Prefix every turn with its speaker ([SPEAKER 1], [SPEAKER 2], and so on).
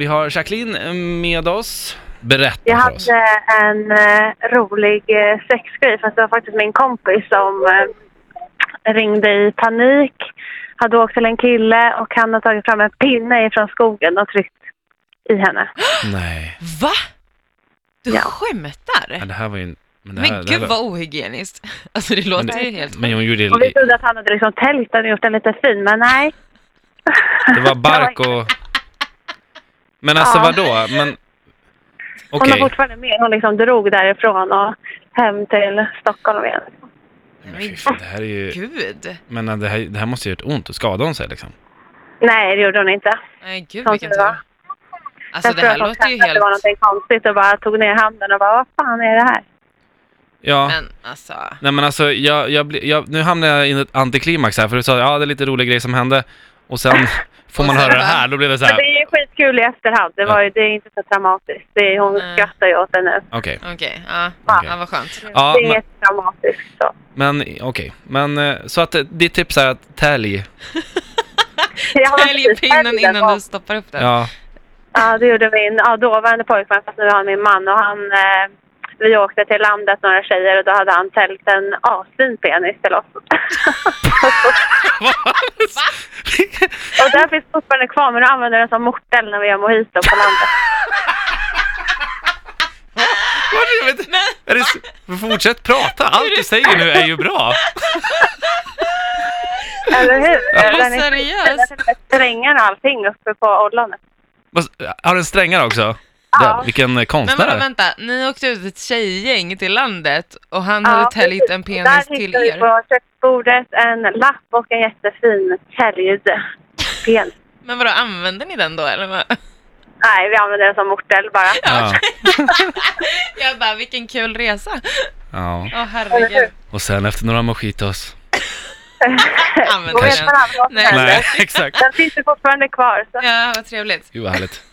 [SPEAKER 1] Vi har Jacqueline eh, med oss. Berätta
[SPEAKER 2] Jag
[SPEAKER 1] för oss.
[SPEAKER 2] hade en eh, rolig eh, sexgrej, fast det var faktiskt min kompis som eh, ringde i panik. Hade åkt till en kille och han hade tagit fram en pinne ifrån skogen och tryckt i henne.
[SPEAKER 1] Nej,
[SPEAKER 3] Va? Du
[SPEAKER 2] Ja.
[SPEAKER 1] men
[SPEAKER 3] skämtar?
[SPEAKER 1] det här var ju... en- Men, det här,
[SPEAKER 3] Men
[SPEAKER 1] det här
[SPEAKER 3] gud vad ohygieniskt. Alltså det låter ju helt...
[SPEAKER 1] Men hon gjorde...
[SPEAKER 2] Och vi trodde att han hade liksom täljt den och gjort den lite fin, men nej.
[SPEAKER 1] Det var bark och... Men alltså
[SPEAKER 2] Ja.
[SPEAKER 1] vadå? Men...
[SPEAKER 2] Hon
[SPEAKER 1] Okej.
[SPEAKER 2] har fortfarande med. Hon liksom drog därifrån och hem till Stockholm igen.
[SPEAKER 1] Men fy fan, det här är ju...
[SPEAKER 3] Gud!
[SPEAKER 1] Men äh, det här, det här måste ju gjort ont. Skadade hon sig liksom?
[SPEAKER 2] Nej, det gjorde hon inte.
[SPEAKER 3] Nej gud
[SPEAKER 2] Sånt
[SPEAKER 3] vilken
[SPEAKER 2] det
[SPEAKER 3] tur.
[SPEAKER 2] var.
[SPEAKER 3] Alltså
[SPEAKER 2] jag
[SPEAKER 3] det
[SPEAKER 2] tror
[SPEAKER 3] här
[SPEAKER 2] att hon
[SPEAKER 3] låter ju
[SPEAKER 2] kände att det var
[SPEAKER 3] helt...
[SPEAKER 2] någonting konstigt och bara tog ner handen och bara vad fan är det här?
[SPEAKER 1] Ja.
[SPEAKER 3] Men alltså...
[SPEAKER 1] Nej men alltså, jag, jag, blir- jag, nu hamnar jag i ett antiklimax här. För du sa ja, det är lite rolig grej som hände. Och sen får man
[SPEAKER 3] Och sen
[SPEAKER 1] höra det
[SPEAKER 3] bara-
[SPEAKER 1] här. Då blir det så
[SPEAKER 2] Men
[SPEAKER 1] här.
[SPEAKER 2] det är ju skitkul i efterhand. Det, var ju, det är inte så dramatiskt. Det är, hon
[SPEAKER 3] Nej.
[SPEAKER 2] skrattar ju åt det nu.
[SPEAKER 1] Okej.
[SPEAKER 3] Okej, ja.
[SPEAKER 1] Okej.
[SPEAKER 3] ja. Vad skönt.
[SPEAKER 1] Ja,
[SPEAKER 2] det är
[SPEAKER 1] men-
[SPEAKER 2] inte dramatiskt. Så.
[SPEAKER 1] Men okej. Men eh, så att eh, ditt tips är att tälj.
[SPEAKER 2] Jag har
[SPEAKER 3] Välj
[SPEAKER 2] precis
[SPEAKER 3] pinnen
[SPEAKER 2] sett den
[SPEAKER 3] innan du
[SPEAKER 2] och-
[SPEAKER 3] stoppar upp den.
[SPEAKER 1] Ja.
[SPEAKER 2] Ja, det gjorde min ja, dåvarande pojkvän, fast nu har han min man. Och han, eh, vi åkte till landet, några tjejer, och då hade han täljt en asfin penis till oss. och den finns fortfarande kvar, men nu använder den som mortel när vi gör mojito på landet.
[SPEAKER 1] Vad är det?
[SPEAKER 3] Men
[SPEAKER 1] Är det så- Fortsätt prata. Allt du säger nu är ju bra.
[SPEAKER 2] Eller hur?
[SPEAKER 3] du
[SPEAKER 2] Den är- den
[SPEAKER 3] seriös?
[SPEAKER 2] är till och med strängar och allting uppe på ollonet.
[SPEAKER 1] Vad- Har den strängar också?
[SPEAKER 2] Ja.
[SPEAKER 1] Där, vilken eh,
[SPEAKER 3] Men
[SPEAKER 1] konstnär.
[SPEAKER 3] vadå, vänta, ni åkte ut ett tjejgäng till landet och han
[SPEAKER 2] Ja,
[SPEAKER 3] hade täljt
[SPEAKER 2] precis.
[SPEAKER 3] en
[SPEAKER 2] Där
[SPEAKER 3] penis till
[SPEAKER 2] hittade vi
[SPEAKER 3] er.
[SPEAKER 2] på köksbordet en lapp och en jättefin täljd penis.
[SPEAKER 3] Men vadå, använde ni den då eller? vad?
[SPEAKER 2] Nej, vi använder den som mortel bara.
[SPEAKER 1] ja.
[SPEAKER 3] Jag bara, vilken kul resa.
[SPEAKER 1] ja.
[SPEAKER 3] Åh herregud.
[SPEAKER 1] Och sen efter några mojitos.
[SPEAKER 3] Använd
[SPEAKER 2] Och vet
[SPEAKER 3] den.
[SPEAKER 2] man aldrig vad som
[SPEAKER 3] Nej.
[SPEAKER 2] händer.
[SPEAKER 1] exakt.
[SPEAKER 2] Den finns ju fortfarande kvar. Så.
[SPEAKER 3] Ja, vad trevligt.
[SPEAKER 1] Gud vad härligt.